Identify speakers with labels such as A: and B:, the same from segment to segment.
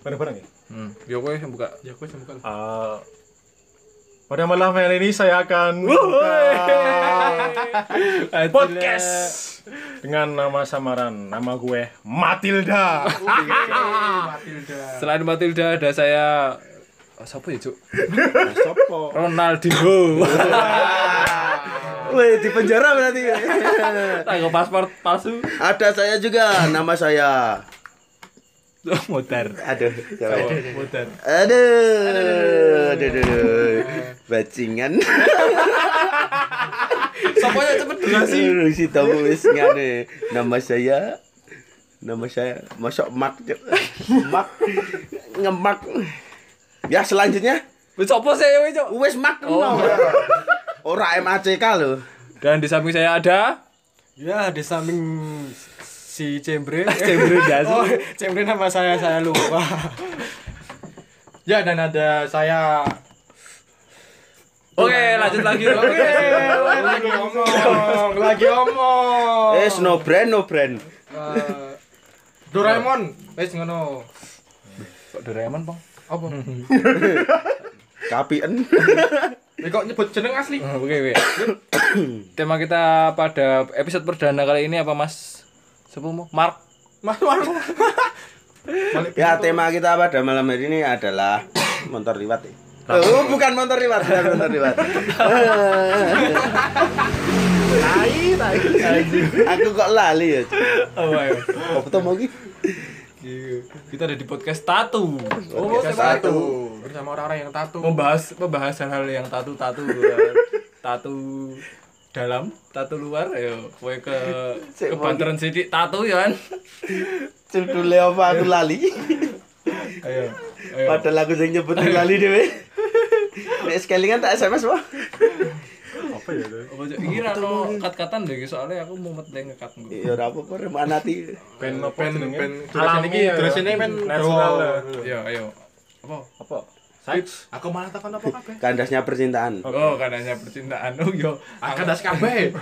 A: Bareng-bareng ya?
B: Hmm. Ya kowe yang buka.
C: Ya aku sembuhkan.
A: Eh, pada malam hari ini saya akan buka podcast dengan nama samaran nama gue Matilda.
C: Matilda.
B: Selain Matilda ada saya oh, siapa ya, Cuk?
A: Sopo?
B: Ronaldinho.
D: Weh, di penjara berarti.
B: Tanggo paspor palsu.
D: Ada saya juga, nama saya.
B: Modar.
D: Aduh, siapa?
B: Oh.
D: Aduh.
A: Butet.
D: Aduh, aduh, aduh, aduh. Bacingan.
B: Sopo ya cepet durasi.
D: Aduh, si tamu wis ngane. Nama saya nama saya masuk mak Cuk. mak ngemak ya selanjutnya
B: Wis sopo sih kowe, Cuk?
D: wis mak
B: Oh.
D: no ora MACK lho
B: Dan di samping saya ada
C: Ya di samping si Cembre.
B: Cembre Dasi.
C: Oh, Cembre nama saya saya lupa. ya dan ada saya
B: Oke, lanjut lagi. Oke.
C: lagi omong, lagi omong.
D: eh no brand no brand
C: Eh, Doraemon, wes ngono.
B: Kok Doraemon, Bang?
C: Apa?
D: kapien
C: Eh, kok nyebut jeneng asli?
B: Oh, Oke, oke. Tema kita pada episode perdana kali ini apa, Mas? Siapa mau? Mark.
C: Mas Mas.
D: Ya tema kita pada malam hari ini adalah motor liwat ya. Oh, bukan motor liwat, bukan motor liwat. Aku kok lali ya.
B: Oh, ayo.
D: Kok ketemu lagi?
B: Iya. Kita ada di podcast Tatu.
C: Oh,
D: Podcast
C: saya
D: satu.
C: tahu. Bersama orang-orang yang tatu.
B: Membahas membahas hal-hal yang tatu-tatu. tatu dalam, tatu luar, ayo kowe ke
D: Cek,
B: kebanteran sidik tatu ya kan.
D: Cendule apa aku lali?
B: Ayo. Ayo.
D: Padahal aku sing nyebut lali dhewe. Nek sekali kan tak SMS wah.
A: Apa ya? itu?
B: Apa, Cuk? Ini rano kat-katan deh soalnya aku mau meteng ngekat gue.
D: Ya ora apa-apa reman ati.
A: Pen apa
C: pen
A: jenenge?
C: pen
A: Alami ya.
C: durasine pen
A: Natural.
C: Jawa.
B: Iya, ayo. Apa?
A: Apa? Seks.
C: Aku malah takon apa kabeh?
D: Kandasnya percintaan.
B: Oh, kadangnya percintaan. Oh, yo.
C: Akan ya? das kabeh.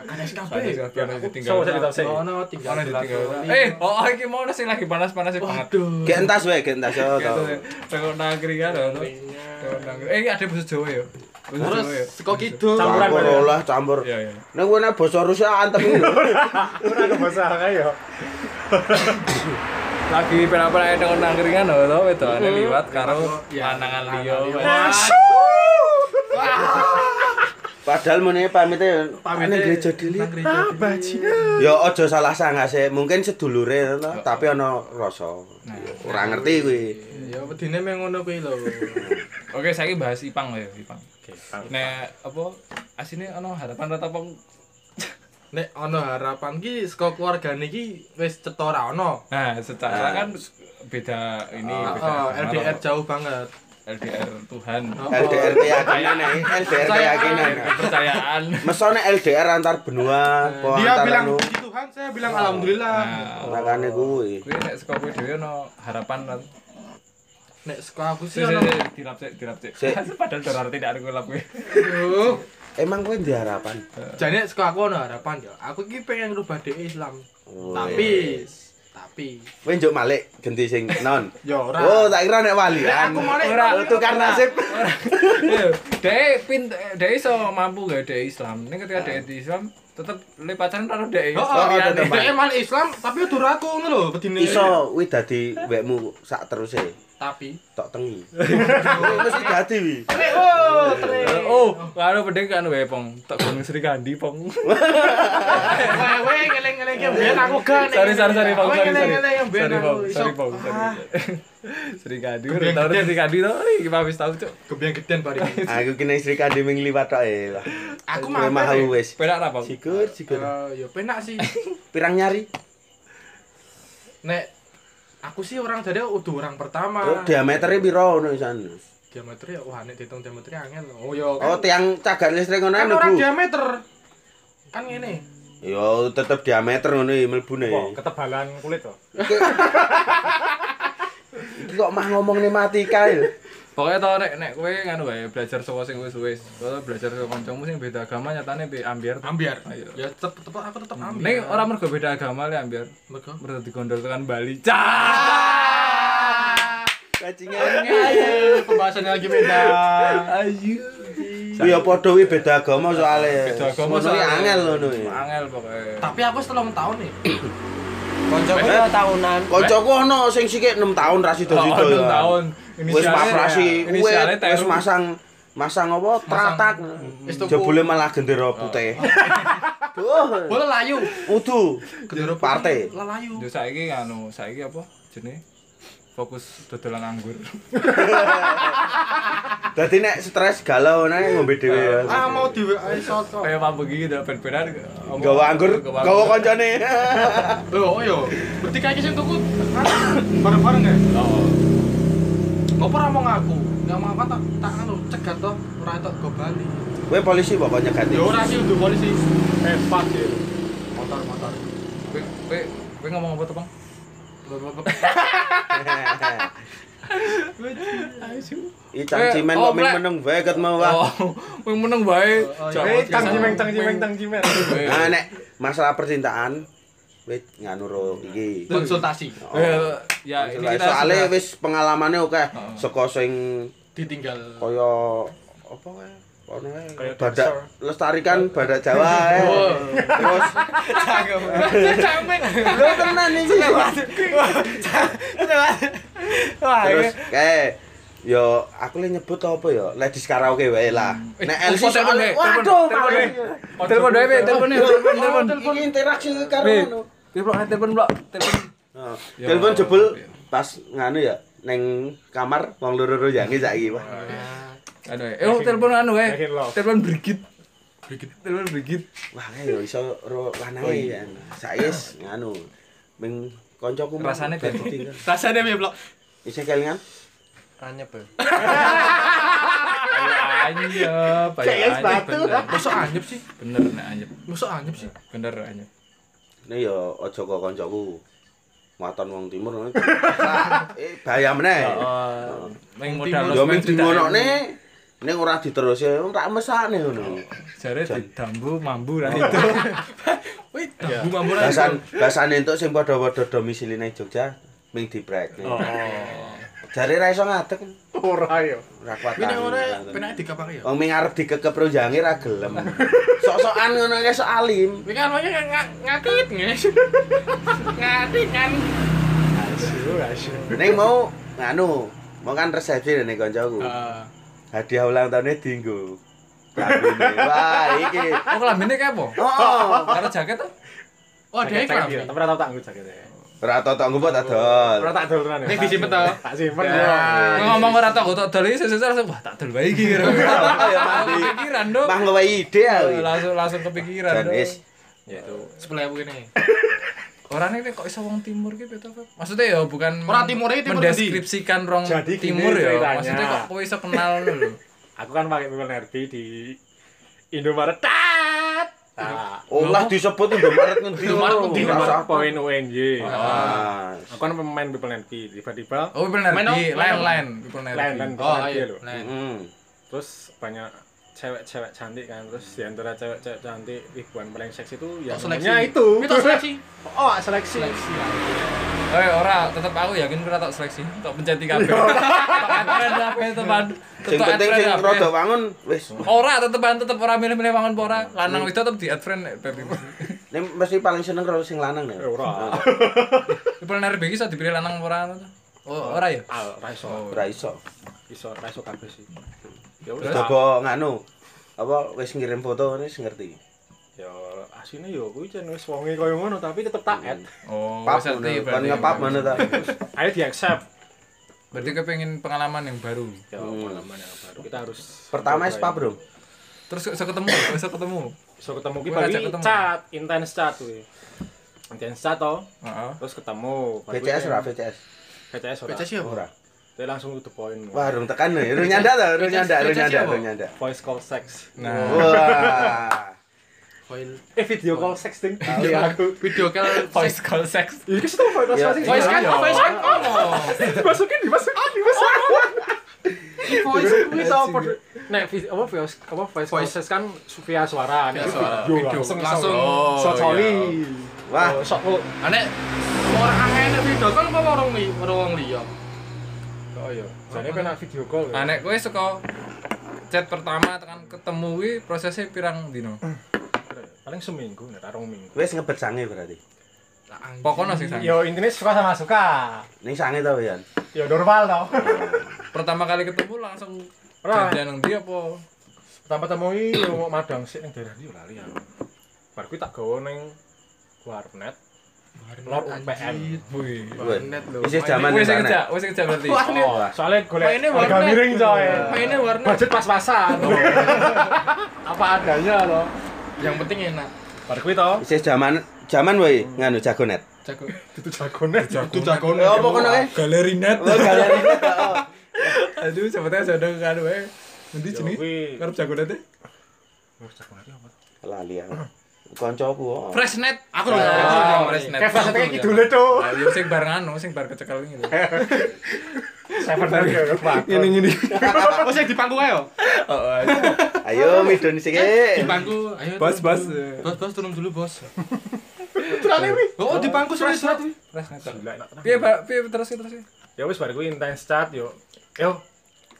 C: Akan das kabeh.
B: Ada biar aku tinggal.
A: Sama cerita sih.
C: Ono tinggal
B: Mana
C: belas
B: ditinggal?
C: wali.
B: Eh, oh, iki mau nasi lagi panas-panas banget.
C: Waduh.
D: Gek entas wae, gek entas ya,
B: Gitu,
D: tau.
B: ya. Tengok nagri kan, ono. Tengok nagri. Eh, ada bahasa Jawa ya. Bahasa
C: Terus
B: Jawa ya?
C: seko kidul.
A: Campuran
D: Campur
A: wae.
D: olah campur.
B: Iya, iya.
D: Nek kowe nek basa Rusia antem iki lho.
A: Ora ada bahasa kaya.
B: Lagi pernah-pernah tengok nagri kan, ono wedokane liwat karo
C: Iya.
B: lanangan liya.
D: Padahal meneh pamitnya
C: Pamite
D: pamitnya gereja dili.
C: nang gereja dili.
D: Ya aja salah sangka sih, mungkin sedulure to, tapi ana rasa. Ora ngerti kuwi.
C: Ya wedine meh ngono kuwi lho.
B: Oke, saiki bahas Ipang ya, Ipang.
A: Oke, Pak.
B: Nek apa asine ono harapan rata pong.
C: Nek ono harapan ki seko keluargane ki wis cetha ora ono.
B: Nah, secara kan beda ini beda
C: Heeh, LDR jauh banget.
B: LDR Tuhan.
C: Oh.
D: LDR keyakinan eh, LDR keyakinan.
B: Kepercayaan.
D: Mesone LDR antar benua, po
C: Dia
D: antar
C: bilang Oh.
D: anu.
C: puji Tuhan, saya bilang alhamdulillah.
B: Nah,
D: Makane kuwi.
B: kuwi nek saka kuwi dhewe ono harapan kan.
C: Nek seko aku sih
B: Sik
C: ono.
B: sik sik, dilap sik, dilap sik.
D: Sik.
B: Padahal ora arti nek aku lap kuwi.
C: Aduh.
D: Emang kuwi ndi harapan?
C: Jane seko aku ono harapan ya. Aku ki pengen rubah dhek Islam.
D: Oh,
C: Tapi tapi
D: Kowe njuk malik ganti sing non.
C: ya ora.
D: Oh, tak kira nek walian.
C: Aku malik.
B: Ora.
D: Oh, Tukar nasib.
B: Dek pin dek iso mampu gak dek Islam. Ning ketika dek di Islam tetep le pacaran karo dek.
C: Oh,
D: Oh,
C: iya,
D: tetep,
C: nek
D: Pak.
C: dhek malah Islam tapi udur aku ngono lho bedine.
D: Iso kuwi dadi wekmu sak teruse
C: Tapi
D: tok tengi. Kuwi Mesti dadi wi.
C: Oh, tre.
B: Oh, karo pedeng kan wae pong. Tak gunung Sri Kandi pong.
C: Wewe ngeleng-ngeleng ya biyen aku gak. nek.
B: Sorry sorry sorry pong.
C: Wewe
B: Sorry sorry.
C: Ngeleng-ngeleng ya biyen
B: Sorry
C: aku
B: pong.
C: iso.
B: Sorry pong. sorry.
C: Ah,
B: Sri Kandi.
C: Kebiang
B: Tahu
C: geden.
B: Sri Kandi to. Iki wis tau cuk.
C: Gebyang geden bari.
D: Aku kene Sri Kandi ming liwat tok e.
C: Aku
D: Kowe mahal
C: mah.
D: wis.
B: Penak ra pong.
D: Sikur, sikur.
C: Ya penak sih.
D: pirang nyari
C: Nek aku sih orang jadi udah orang pertama.
B: Ah.
D: oh, diameternya piro ngono isan
C: Diameternya wah nek dihitung diameternya angel. Oh yo.
D: oh tiang cagak listrik ngono
C: kan
D: lho
C: orang
D: Bu
C: diameter. Kan ngene.
D: ya tetep diameter ngono iki mlebune
A: Wah, ketebalan kulit to.
D: iki kok mah ngomong nematika ya
B: Pokoknya tau nek nek kowe nganu wae belajar saka sing wis wis. Kalau belajar saka kancamu sing beda agama nyatane be ambiar.
C: Ambiar.
B: Ayo.
C: Ya tetep tetep aku tetep ambiar.
B: Ning ora mergo beda agama le ambiar.
C: Mergo.
B: Mergo digondol tekan Bali. Cah.
D: cacingan.
B: Iya,
E: Ayo, pembahasannya lagi beda.
D: Ayu. Kuwi ya padha kuwi beda agama soalnya.
B: Beda agama
D: Ngono kuwi
B: soalnya.
D: angel ngono kuwi.
B: Angel pokoknya.
E: Tapi aku setelah tahun nih.
C: Koncoku ya tahunan.
D: Kancaku ono sing sikik 6 tahun ra sido-sido.
B: Tahun tahun. ya,
D: Wis paprasi,
B: Inisialnya
D: wis wis
B: Teru.
D: masang masang apa teratak.
E: Wis
D: Jebule malah gendera
B: Oh.
D: putih. Duh,
E: Bola layu.
D: udu gendera partai.
E: Bola layu.
B: Yo saiki anu, saiki apa jenenge? Fokus dodolan anggur.
D: Dadi nek stres galau nek ngombe dhewe ya.
E: Ah mau di WA soto.
B: Kayak apa begini dah ben-benan. apa-
D: Gawa anggur, gawa kancane.
E: Oh yo, berarti kayak sing tuku bareng-bareng ya.
B: Oh.
E: Ngopo ora mau ngaku? Enggak mau apa tak tak anu cegat toh ora tok go bali.
D: Kowe polisi pokoknya ganti.
E: Ya ora sih untuk polisi.
A: Eh, fuck ya.
E: Motor-motor.
B: Kowe kowe kowe ngomong apa to, Bang?
D: Ih, cangcimen
B: Eh, oh,
D: kok min
B: Blek.
D: meneng wae ket mau wah.
B: Oh, kowe meneng wae.
E: Oh, iya.
A: Eh,
B: Jawa
A: tang cimeng,
B: biasanya
A: tang cimeng, tang cimeng.
B: wae.
D: Nah, Ah, nek masalah percintaan wis nganu ro iki.
E: Konsultasi.
D: Oh.
B: Eh, ya ini kita sudah-
D: soalnya
B: Oh.
D: wis pengalamannya oke
B: Heeh.
D: saka sing
E: Ditinggal.
D: kaya apa wae ono wae.
A: Kayak
D: badak
A: dancer.
D: lestarikan badak Jawa ya.
E: Oh.
D: Terus lho tenan iki.
C: Wah,
D: Terus
C: ini-
D: kayak yo aku le nyebut apa yo ladies karaoke wae lah.
B: Eh,
D: Nek
B: telepon,
D: LC
B: telepon,
D: soalnya
B: eh,
D: waduh.
B: telepon,
D: Pak.
B: telepon, eh. Telepon dhewe, telepon dhewe, telepon telepon.
D: Iki interaksi karo
B: Be,
D: ngono.
B: telepon eh, telepon blok, telepon.
D: Oh,
B: Ya,
D: Telepon jebul
B: iya.
D: pas nganu ya neng kamar wong loro-loro yangi saiki wah.
B: Aduh, eh oh, telepon anu eh.
A: Yakin lo.
B: Telepon Brigit. Brigit, telepon Brigit.
D: Wah, kayak yo iso
B: Oh,
D: ro lanange ya. Saiki wis nganu ming kancaku mau
B: Rasane
D: bad
B: beda.
D: tinggal.
E: Rasanya piye, Blok?
D: Isih kelingan?
C: anyep ya.
B: Anyep,
D: Kayak sepatu.
B: bener.
E: Mosok anyep sih?
B: Bener nek anyep.
E: Mosok anyep sih?
B: Bener anyep.
D: Nek yo aja kok kancaku. Waton wong timur ngono. Nah, Eh bahaya meneh.
B: Oh, Ning modal
D: Yo ming dingonokne ning ora diterusi ora mesakne ngono.
B: Jare didambu mambu ra itu.
E: Wih, dambu mampu ra itu.
D: Oh. Iya. Bahasan bahasan entuk sing padha-padha domisili nang Jogja ming dibrek. Jare ra iso ngadeg
A: Ora yo.
D: ora kuat.
E: Wih, nek
D: tangan,
E: ora
D: ngono.
E: penak dikapake ya.
D: Wong ming arep dikekep ro jange ra gelem. Sok-sokan ngono kae sok alim.
E: Wih, kan wae ngakit nges. Ngakit kan.
A: Asyik, asyik.
D: Neng mau nganu, mau kan resepsi nih koncoku.
E: Ah.
D: Hadiah ulang tahunnya dinggo. Lambene. Wah, iki.
B: Oh, kelambine kae apa?
D: Oh,
B: Karo jaket to?
E: Oh, dia
A: Jaket, jaket,
E: iklan.
A: Tapi ora tau tak gitu ya. nggo jakete.
D: ora totok ngumpet adol.
A: Ora tak dolanan. ya.
E: Nek disimpen to.
A: Tak simpen
E: Ya.
A: yo.
D: Ah,
B: Ngomong
D: iya.
B: ora tak gotok dol iki sesuk langsung wah tak dol wae iki. kira.
D: Ya mandi.
B: Kepikiran dong.
D: Mah nggawe ide aku.
B: Langsung langsung kepikiran
D: Oh, iya. Dan
B: dong.
D: is
A: Ya itu.
E: Sebelah aku ini.
B: Orang ini kok iso wong timur ki Peter Feb? Maksudnya ya bukan
E: Orang timur ini timur
B: mendeskripsikan rong
A: Jadi gini
B: timur ya.
A: ceritanya.
B: Maksudnya kok kowe iso kenal lho.
A: Aku kan pakai People Nerdy di Indomaret. Tat. Tak.
D: olah disebut Indomaret ngendi.
E: Indomaret
D: lho.
E: ngendi,
D: Ora
A: Indomaret
D: usah
A: poin UNJ.
D: Ah.
A: Aku kan pemain People Nerdy. Tiba-tiba
B: Oh, bener
E: Main apa? Main
B: di
E: apa?
B: lain-lain, people nerdy.
A: lain dan
E: Oh,
A: People
B: iya.
A: Nerdy
E: ayo.
A: lho.
E: Nah.
D: Mm.
A: Terus banyak cewek-cewek cantik kan terus di antara cewek-cewek cantik ribuan paling seksi itu ya
E: Tok seleksi.
A: semuanya itu
E: Itu seleksi.
A: oh seleksi
E: Seleksi.
B: Eh ora, tetep aku yakin kira tak seleksi, tak penceti kabeh. Tak aturan kabeh tepan.
D: Sing penting sing rada wangun wis.
B: Ora tetepan tetep ora milih-milih wangun apa ora. Lanang itu tetep di add friend nek Pepi.
D: Ning mesti paling seneng karo sing lanang nek.
A: Eh, ora
B: People nerdy iki iso dipilih lanang apa ora. Oh, ora ya?
E: Ah,
A: al raiso
D: Ora iso.
A: iso raiso kabeh sih ya wis
D: Wis
A: tak-
D: coba nganu. Apa wis ngirim foto wis ngerti.
A: ya asine yo kuwi jan wis wonge koyo ngono tapi tetep tak add
B: Oh,
D: Pap
B: bisa di-
D: ngono. Kon
B: berarti.
D: ngepap ngono ta.
B: Hmm.
A: ayo di accept
B: Berarti kepengin pengalaman yang baru.
A: ya
B: Hmm.
A: pengalaman yang baru kita harus ya.
D: Pertama es pak bro.
B: Terus kok iso ketemu, kok iso ketemu.
A: so ketemu
B: Gua
A: kita
B: ngajak
A: lagi
B: ketemu.
A: chat intense chat kuwi intense chat toh
B: Heeh.
A: terus ketemu Baru
D: BCS
A: kuwi-
D: ora BCS.
A: BCS ora
E: Baca siapa?
D: Ora.
A: Terus langsung to the point
D: Wah, rung tekan nih. Rung nyanda ta, rung
E: BCS
D: nyanda, rung
E: BCS
D: nyanda,
E: apa?
D: rung nyanda.
A: voice call sex
B: Nah,
D: Wah.
E: Coil.
A: eh video call sex ding iya aku
E: Video call
B: voice call sex.
A: Iki sih tuh voice
D: Ya,
A: call sex
E: Voice kan,
B: Iya.
E: voice kan ngomong.
A: dimasukin dimasukin dimasukin
E: Voice
C: Iya,
A: Wis kan? Oh, apa nek vis- apa voice apa voice
E: Voice.
A: voice kan su- via suara
E: Via
A: nek
E: suara,
A: video
E: video.
A: langsung
E: Langsung.
A: langsung.
E: Oh,
A: Sok
E: iya.
A: coli.
D: Wah.
A: Oh, sok oh.
E: Ane orang angin video call apa orang li, orang wong liya.
A: Oh iya. Jadi kena video call.
B: Nah, nek kowe saka chat pertama tekan ketemu kuwi prosesnya pirang dino?
A: Paling seminggu, nek rong minggu.
D: Wes ngebet sange berarti.
B: Pokoknya sih Sang.
F: Yo intinya suka sama suka.
D: Ning sange tau ya.
F: Yo normal tau.
B: Pertama kali ketemu langsung
A: Ora.
B: janjian nang ndi apa?
A: Pertama temui yo mau madang sik ning daerah yo lali aku. Bar kuwi tak gawa ning warnet. Lor UPN.
B: Wih.
C: Warnet lho.
D: Isih
C: Main-
D: zaman
B: Wis
D: internet.
B: kerja, wis kerja berarti.
A: Oh, soalnya
C: Mainnya
A: golek harga
C: warnet.
A: miring coy.
B: ya.
C: Mainnya warnet.
A: Budget pas-pasan. Apa adanya loh.
B: Oh. Yang penting enak.
A: Bar kuwi to,
D: Isih zaman zaman woi nganu jagonet.
B: Jago.
A: itu jagonet.
E: Itu jagoan.
D: Ya apa kono
B: eh?
D: e?
B: Galeri net.
D: Oh galeri. Oh.
B: Aduh, sebetulnya sadar kan wae. Nanti
A: Yo,
B: jenis
A: kuwi-
B: ngarep jago nanti.
A: Oh, jagonet apa?
D: Lali aku. Koncoku. oh.
B: Fresh net. Aku lho. Oh, fresh net.
F: Kayak flashnya kayak gitu tuh.
B: Ayo sing bar nganu, sing bar kecekel gitu.
F: Seven Burger.
E: Ini ini. Oh, sing di pangku ae yo.
D: Ayo midun sike.
C: Di pangku, ayo.
E: Bas bas.
C: Bos, bos turun dulu, Bos. Oh, di pangku sudah surat.
B: Fresh net.
A: Gila, enak tenan.
B: Piye, Pak? Piye terus terus.
A: Ya wis bar kuwi intens chat yo. Yo,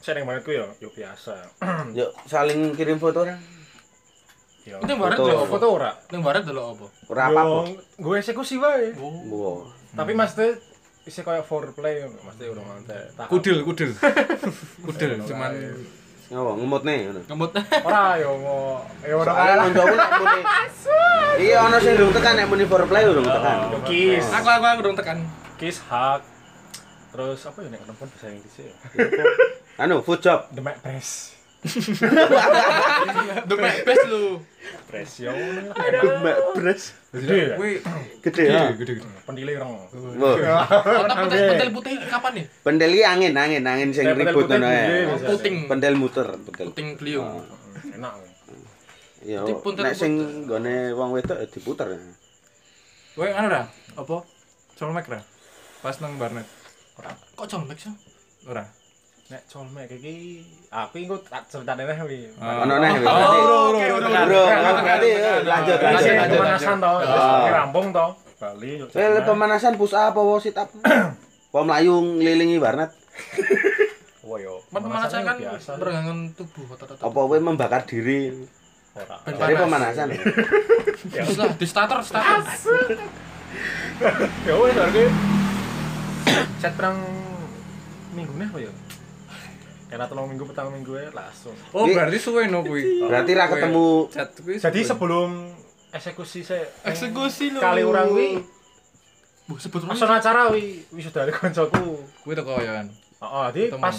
A: sering banget kuwi yo, yo biasa.
D: Yuk saling kirim foto ora.
A: Yo.
C: Itu warnet
D: Foto.
C: lho apa?
A: Foto ora?
C: Itu warnet lho apa?
D: Ora Oh. apa.
A: Yo, Gue eksekusi wae.
D: Wo.
A: eh. Tapi Mas tuh isih koyo foreplay Mas tuh urung mantek. Tahap-
B: Kudel, kudel. Kudel cuman
D: Ngowo ngemutne ngono.
C: Ngemut.
A: Ora yo mau yo ora
D: Soale koncoku nek muni. Iya ana sing durung tekan nek muni foreplay durung tekan.
A: kis,
B: aku aku aku dong tekan.
A: kis hak. Terus apa ya nek perempuan bisa yang dhisik ya?
D: Anu food job.
A: Demek press.
C: Demek best lu.
A: Press yo.
D: Mbak Bres.
A: Gede ya?
B: Kuwi
D: Gede ya.
B: gede-gede.
A: Pendile rong.
D: Wo.
C: Kotak pentel pentel putih kapan ya? nih?
D: Pendel iki angin, angin, angin sing
A: Nek
D: ribut
A: putih-putih
D: ngono
A: gede
D: ae.
A: biasanya.
C: Puting.
D: Pendel muter, pendel.
C: Puting kliung.
A: Enak. weh.
D: Iya,
C: Diputer-puter.
D: nek sing gone wong wedok ya diputer.
B: Kowe anu ra? Apa? Colmek ra? Pas nang Barnet.
C: Kok jongmek sih?
B: Ora.
A: Nek colmek iki aku engko tak ceritane neh kuwi.
D: Ono neh berarti. Bro, berarti ya, lanjut, lanjut,
A: Lanjut
D: lanjut.
A: pemanasan to, terus
D: Ah.
A: ini rampung to. Bali yo.
D: Wel pemanasan push up apa sit up? Apa mlayu ngelilingi warnet?
A: Wah yo.
C: Pemanasan kan
A: biasa.
C: peregangan tubuh otot-otot.
D: Apa kowe membakar diri?
A: Ora.
D: Dari pemanasan.
B: Iya.
C: Terus lah, di starter, starter.
A: Ya wis bar kuwi. Set perang minggu neh apa yo? Kena telung minggu petang minggu ya langsung.
B: Oh,
D: Wi-
B: berarti suwe no kuwi.
D: Berarti ra ketemu
B: Chat kuwi.
A: Jadi
B: suwe.
A: sebelum eksekusi saya
C: Eksekusi lu.
A: kali orang wi
C: Bu, sebut orang.
A: langsung acara wi wisudari koncoku.
B: kuwi teko ya kan.
A: Oh, jadi
B: Ketemu.
A: pas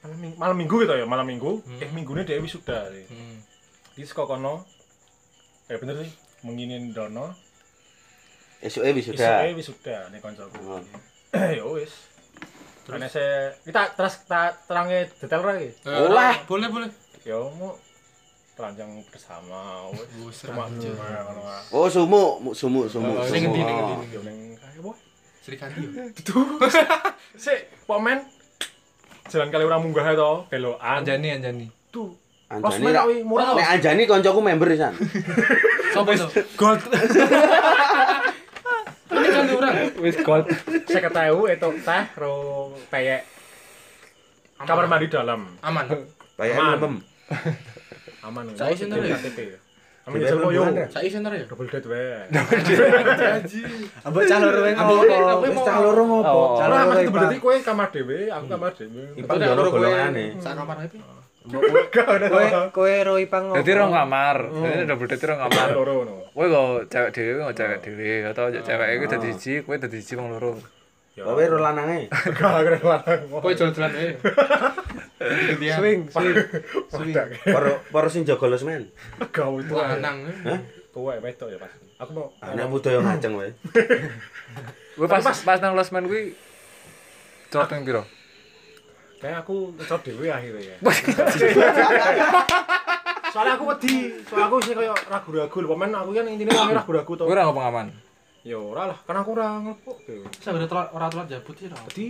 A: malam minggu, malam minggu gitu ya malam minggu
C: Hmm.
A: eh minggunya dia wisuda hmm. di sekokono eh bener sih menginin dono
D: esuke wis
A: Isuke
D: sudah.
A: wisuda nih koncoku
D: Hmm.
A: eh ya wis karena saya kita terus kita terangnya detail lagi
D: Olah.
C: Eh, Boleh, boleh.
A: ya mau telanjang bersama wis.
C: Wis,
A: cuma
C: ranjang.
A: cuma
D: Oh, sumu, mu- sumu, sumu.
C: Oh,
D: sumu.
C: sing ngendi, ning ngendi, ning
A: yo ning kae boy
C: Sri Kandi.
A: sik pomen jalan kali orang munggah to belokan
B: Anjani anjani.
A: tuh
D: Anjani.
A: Rosmen
D: ra-
A: wi, murah to
D: Nek Anjani koncoku member pisan.
C: Sopo itu?
B: Gold.
C: Ini kan orang.
B: Wis gold.
A: saya ketahu itu teh ro peyek kamar mandi dalam
C: Aman.
D: Kayak
A: Aman.
D: mem.
A: aman
C: Saya sih nulis.
A: KTP amin jajal koyo
C: Saya center ya.
A: double date we
E: Ambek calon ruweng apa?
D: Wis tak loro ngopo?
A: kalau
E: Calon
A: aman
E: ruweng.
A: double date kowe kamar dhewe aku kamar dhewe
D: Ipang jono golongane.
C: Sak kamar ae. Pi.
F: Kowe kowe ro ipang ngopo?
B: Dadi rong kamar.
C: Oh.
B: Dadi double date rong kamar.
A: loro ngono
B: Kowe kok cewek dhewe kok cewek dhewe atau cewek iku
C: Oh.
B: dadi siji, kowe dadi siji wong loro.
D: Kowe ro lanange.
A: gak keren banget
C: Kowe jalan-jalan ae.
F: Swing, swing.
D: Para para sing jaga losmen.
A: gawe itu
C: Wah, nang.
A: kowe wedok ya pas aku mau
D: Anak Ah, muda yo ngajeng wae.
B: Kowe pas pas nang losmen kuwi celot ping piro?
A: kayak aku ngecot dhewe akhirnya ya soalnya aku wedi soalnya aku sih kayak ragu-ragu lho pemen aku kan intinya kami ragu-ragu to
B: Kowe ora ngopo ngaman.
A: ya ora lah karena aku ora ngelepok dhewe
C: Saya ora telat ora telat jabut sih. Ra.
A: Jadi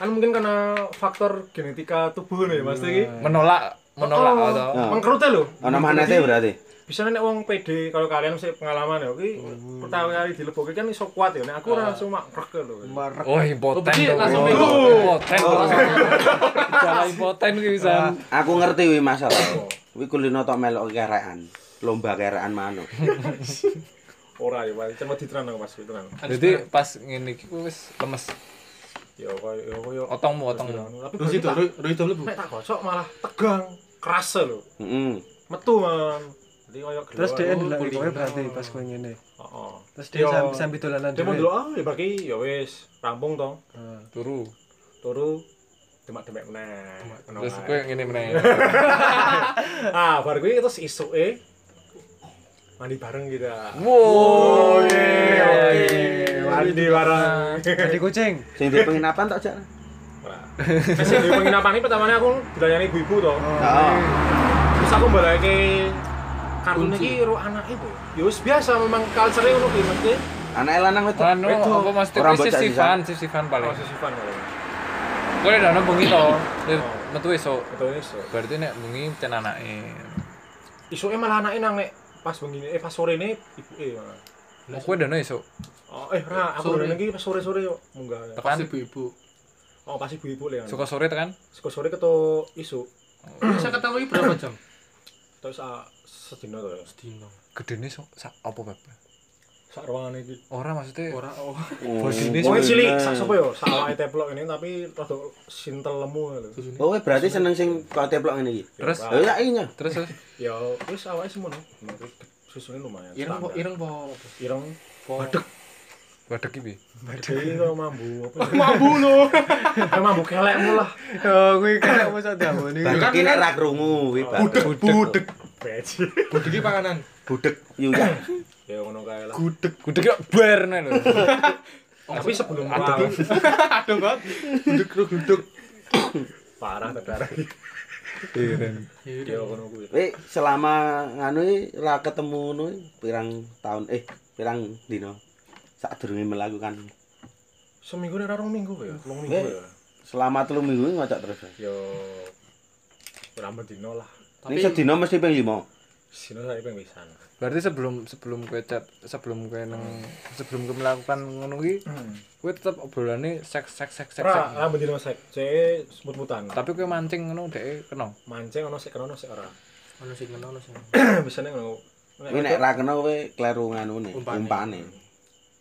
A: kan mungkin karena faktor genetika tubuh nih mas Tegi.
B: Menolak Iya. menolak
A: Oh.
B: atau
D: Nah.
A: Mengkerutnya lho.
D: Ana manete berarti.
A: Bisa nek wong PD kalau kalian sih pengalaman ya kuwi pertama kali dilebokke kan iso kuat ya. Nek aku
B: Nah.
A: ora langsung mak krek lho.
F: Merek.
B: Wah, impoten.
C: berarti
B: dong.
C: Oh, langsung Oh.
B: Wah,
C: minggu.
B: Impoten. Oh, Cara impoten kuwi bisa.
D: Aku ngerti wi masalah. Wi kulino tok melok kerekan. Lomba kerekan manuk.
A: Ora ya, wae cuma gitu ditenan aku pas kuwi tenan.
C: Ah,
B: Jadi pas ngene iki kuwi wis lemes.
A: Ya koyo ya koyo
B: Otongmu, otongmu.
A: Tapi
C: Terus itu,
A: berarti
C: terus itu lu.
A: tak- nek tak gosok malah tegang, keras lho.
D: Heeh.
A: Metu man. Jadi koyo
F: Terus
A: gelowak.
F: dia
C: Oh,
F: ndelok kowe
C: kuliner.
F: berarti pas kowe ngene.
A: Heeh.
F: Terus dia
A: Yo.
F: sam- sambil dolanan
A: Dia mau
F: dhewe.
A: dulu ah ya bagi ya wis rampung toh.
F: Heeh.
B: Turu.
A: Turu demak-demek meneh. Ngono
B: Terus
A: wae.
B: kowe ngene meneh.
A: Ah, bar kuwi terus isuke mandi bareng kita.
B: Wow.
A: Mandi bareng.
F: Jadi kucing.
D: Sing di penginapan tok jak.
A: Ora. Wis di penginapan iki pertamane aku dilayani ibu-ibu to.
D: Heeh.
A: Terus aku balake kartun iki ro anake Bu. Ya wis biasa memang culture ngono kuwi mesti
D: Anak e lanang wedok.
B: Anu apa Mas
D: Orang
B: Tipi
D: bocah
B: sif-sifan, sif-sifan paling.
A: posesifan kali.
B: Kowe nek ono bengi to, lir-
A: Oh.
B: metu esuk.
A: Betul iso.
B: Berarti nek bengi ten anake.
A: Isuke malah anake nang nek pas bengi eh pas sorene ibuke malah.
B: Mau kowe dono esuk.
A: Oh, eh ora aku
C: Sore.
A: sore iki pas sore-sore yo munggah.
B: Tekan
C: ibu-ibu.
A: Oh, pas ibu-ibu le.
B: suka sore tekan.
A: Suka sore ketok isuk.
C: Bisa ketemu ini berapa jam?
A: Terus ah, sedina to ya.
C: Sedino.
B: Gedene sok sak apa bab?
A: Sak ruangane iki.
B: Ora maksudnya
C: Ora oh.
B: Bojone
A: Wong cilik sak sapa yo, sak awake teplok ini tapi rada sintel lemu ya. lho.
D: Oh, kowe berarti seneng sing kok teplok ngene iki.
B: Terus?
D: Oh, ya iya.
B: terus terus
A: Ya wis awake semono. Susune lumayan.
C: Ireng po,
A: standar.
C: ireng po.
A: ireng
B: waduh iki piye?
A: badhe karo mambu. Mambu lho. Eh mambu kelekmu lah.
F: Oh, kuwi kena mosok diamboni.
D: Barang iki nek ra krungu wi barang.
B: budek
A: Beji.
C: Budegi panganan.
D: Budek yo ya.
A: Ya ngono kae lah.
B: budek budek ya bar nek lho
A: Oh, Tapi sebelum aku
C: Aduh banget. Budeg lu gudeg.
A: parah tedarah. Ya ngono kuwi.
D: Wi Eh, selama nganu iki ra ketemu ngono iki, pirang tahun eh pirang dina sadurunge melakukan
A: Seminggu nek ora rong minggu ya, rong minggu ya.
D: selama telu minggu iki ngocok terus.
A: Ya ora medino lah.
D: Ning sedina mesti ping 5.
A: Sino saiki ping pisan.
B: berarti sebelum sebelum kowe chat sebelum kowe nang sebelum kowe melakukan ngono iki kowe tetep obrolane seks seks seks seks
A: Ora,
B: seks.
A: ora medino sek. Cek semut-mutan.
B: tapi kowe mancing ngono dhek kena
A: Mancing ono sik kena ono sik ora.
C: Ono sing ngene ono sing.
A: Bisane ngono.
D: Kuwi nek ra kena kowe kleru nganune,
C: Umpane.
D: umpane.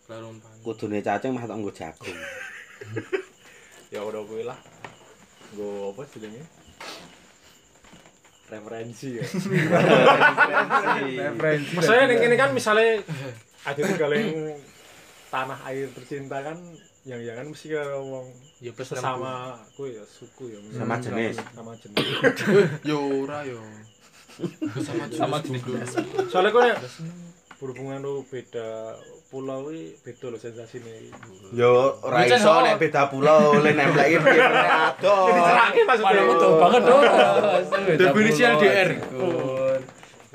C: Karo umpan.
D: Kudune cacing mah tok nggo jagung.
A: ya udah gue lah gue apa sih ini referensi ya
B: referensi
A: maksudnya yang ini kan misalnya ada yang kaleng tanah air tercinta kan yang yang kan mesti kalau ngomong
C: Ya plus
A: sesama gue ya suku ya misalnya.
D: Sama jenis.
A: sama jenis
C: Yo ora yo. Sama sama jenis.
A: soalnya gue nek berhubungan lu beda pulau ini beda lo sensasi nih
D: Yo ora
C: Jan,
D: iso
C: oh.
D: nek beda pulau le nempleki piye adoh.
A: terakhir maksudnya
B: Padahal tuh banget dong. iya.
C: Definisi LDR.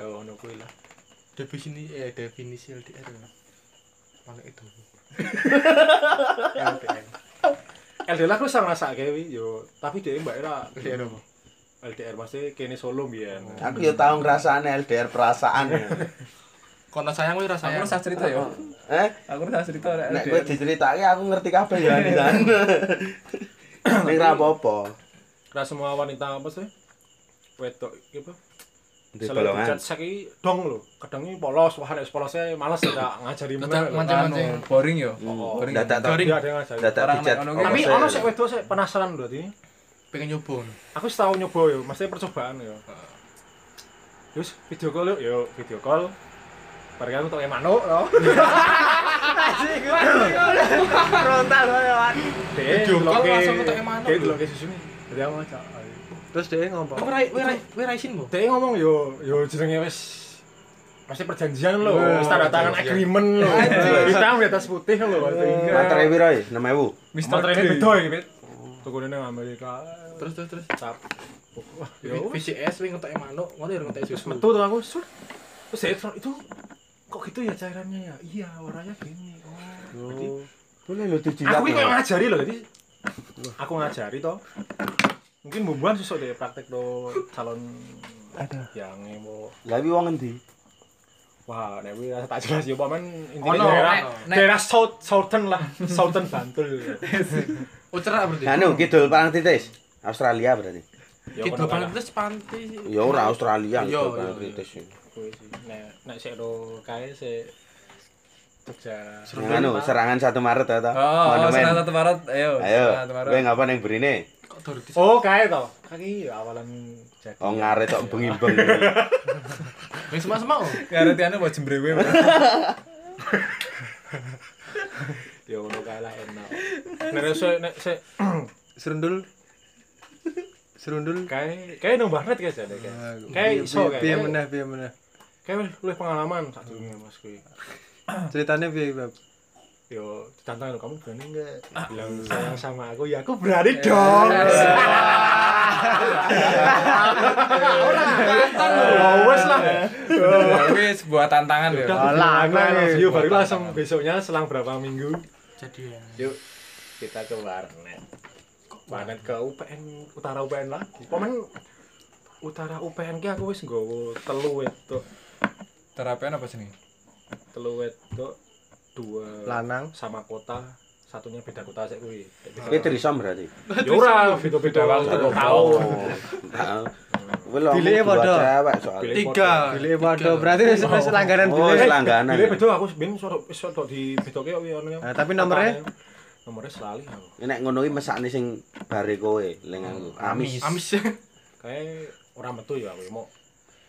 A: ya ono gue lah
C: Definisi eh definisi LDR. ya. Paling itu.
A: LDR LDR aku sama rasa kayak yo tapi dia mbak Ira
C: LDR apa?
A: LDR pasti kene Solo mbiyen.
D: Aku yo tau ngrasakne LDR perasaan.
C: Kono sayang kuwi
B: aku
C: rasanya.
B: rasa cerita ya
D: Eh,
B: aku rasa cerita nek
D: nek kowe diceritake aku ngerti kabeh ya Anisan. Ning ra apa-apa.
A: Kira semua wanita apa sih? Wedok iki apa?
D: Di
A: Selain
D: golongan.
A: dicat sek iki dong lho. Kadang iki polos, wah nek polosnya males ya ngajari
C: Tetep
A: meneh.
C: mancing.
B: anu boring yo
D: Hmm.
A: Oh,
B: boring
D: Dadak tok.
C: Garing.
A: Iya, ada yang ngajari.
D: Dadak
B: Orang
D: dicat.
B: nek ono
A: Tapi
B: Maksudnya-
A: ono sik wedok sik penasaran lho iki.
C: Pengen nyoba. no.
A: Aku setahun nyoba yo, mesti percobaan yo. Terus video call yuk, yuk video call. Bareng aku tok manuk lho.
F: Frontal lewat.
A: Dek,
C: Video call
A: diloke-
C: langsung ketok manuk.
A: Dek diloke susune. Jadi aku ngajak. ayo.
F: Terus dia ngomong.
C: Kowe ra kowe ra kowe ra isin, Bu.
A: Dek ngomong yo yo jenenge wis pasti perjanjian lho, wis tanda tangan
C: perjanjian.
A: agreement lho. Hitam di atas putih lho.
D: Materai piro ya? 6000.
A: Mister Trade beda iki, Pit. Tukune nang Amerika.
C: Terus terus terus.
A: Cap. Wah,
C: V-
A: Yo wis
C: VCS wing ngetoke manuk, ngono ya ngetoke susu.
A: metu tuh aku. sur. Terus saya terus, itu kok gitu ya cairannya ya? Iya, orangnya gini. Oh. Jadi,
D: Boleh lho
A: aku
D: dijilat.
A: ini
D: lho.
A: kayak ngajari loh, jadi aku ngajari toh. Mungkin bubuhan susah deh praktek do calon yang mau
D: Gawe wong endi?
A: Wah, nek kuwi rasa tak jelas ya paman intine
C: Ono,
A: daerah
B: nek-
A: daerah south southern lah, southern Bantul.
C: Oh cerah berarti.
D: Anu kidul parang titis. Australia berarti.
A: Ya kono
C: Kidul paling
A: kan
C: terus panti.
D: Ya ora Australia
C: Iya,
D: kidul parang
C: iya, iya.
D: titis.
A: kuwi sih. Nek nek sik do kae sik Jogja.
D: Anu serangan 1 Maret ya ta.
B: Oh, oh,
D: Monumen.
B: Selatan Barat, ayo.
D: Ayo.
B: Selatan Barat.
D: Kowe ngapa ning mrene?
C: Kok dordi?
A: Oh, kae to. Kaki ya awalan jadi.
D: Oh ngare tok bengi-bengi.
C: Wis semak-semak. oh.
B: Ngerti anu buat jembrewe.
A: Ya ngono kae lah enak. Nek sik nek sik
B: Serundul.
F: Serundul.
A: kae kae nang banget kae jane kae. Kae iso kae.
F: Piye
A: Kae-
F: meneh, piye meneh.
A: Kae wis luwih pengalaman sak durunge Mas kuwi.
F: Ceritane piye, Bab?
A: Yo, ditantang lo, kamu berani enggak? Bilang sayang sama aku, ya aku berani dong.
C: Tantang lho.
A: Oh, wes lah.
B: Tapi sebuah tantangan ya.
A: Udah,
F: Alah,
A: aku I love
F: gue.
A: you. baru langsung besoknya selang berapa minggu
C: Jadi ya.
A: yuk kita ke warnet warnet ke UPN utara UPN lagi paman utara UPN ki aku wis nggawa telu wedok
B: Terapian apa sini?
A: telu wedok dua
F: Lanang.
A: sama kota satunya beda kota sik kuwi
D: Kowe trisom berarti.
A: Ya ora beda-beda waktu kok tau
D: Heeh. Kowe lho.
F: Bilike padha.
D: Cewek soalnya.
C: Tiga.
A: Ah,
F: Bilike padha, berarti wis wis langganan
D: Oh,
F: bilike.
D: selangganan.
A: Dile bedo aku ben sorok wis sorok di bedoke kuwi ono ya.
F: Nah, tapi nomornya?
A: Nomornya selali aku.
D: Nek ngono iki mesakne sing bare kowe ling aku. Amis.
C: Amis.
A: kayak orang metu ya aku mau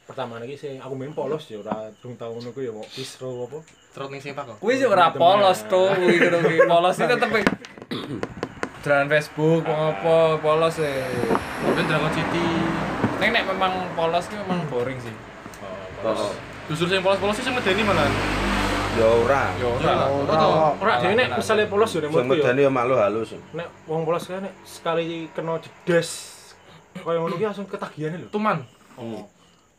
A: pertama lagi sih aku main polos ya ora durung tau ngono kuwi ya mau bistro apa
C: Terus ning sepak kok.
B: Kuwi sih ora polos tuh, kuwi kudu kuwi polos sih tetep eh. jalan Facebook wong apa polos e. sih.
C: Ben Dragon City.
B: Nek nek memang polos ki memang boring sih.
D: Oh,
C: Justru sing polos-polos sih medeni malah.
D: Ya ora.
B: Yo
C: Ora.
B: ora.
A: ora dhewe nek misale polos ya nek
D: Sing
A: menurutku ya
D: medeni ya malu halus.
A: nek wong polos kae nek sekali kena jedes kaya ngono ki langsung ketagihane lho
C: Tuman.
A: oh.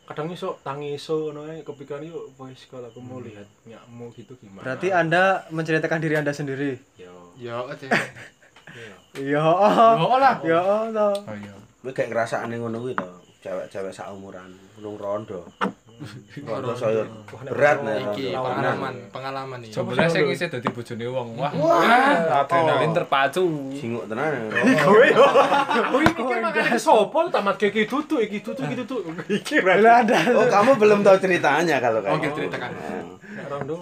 A: kadang iso tangi iso ngono ae kepikiran yo wis kalau aku mau lihat nyakmu gitu gimana Ah,
F: Berarti Anda menceritakan diri Anda sendiri.
A: yo
C: Ya, oke.
F: Iya.
C: Oh lah.
F: Ya Allah.
B: Oh iya.
D: Kowe gak ngrasakne ngono kuwi to. Cewek-cewek sak umuran, nulung rondo. Rondo saya berat nek
C: Iki
D: rondo.
C: pengalaman, pengalaman iya. iki.
B: Jebule sing isih dadi bojone wong. Wah. Adrenalin terpacu.
D: Singuk tenan.
A: kowe yo kowe mikir makane sopo tamat kayak gitu tuh iki tutu iki tutu iki
F: Lah
A: berarti
F: Anda.
D: Oh, kamu belum tahu ceritanya kalau kayak.
C: Oke, ceritakan.
A: Nek rondo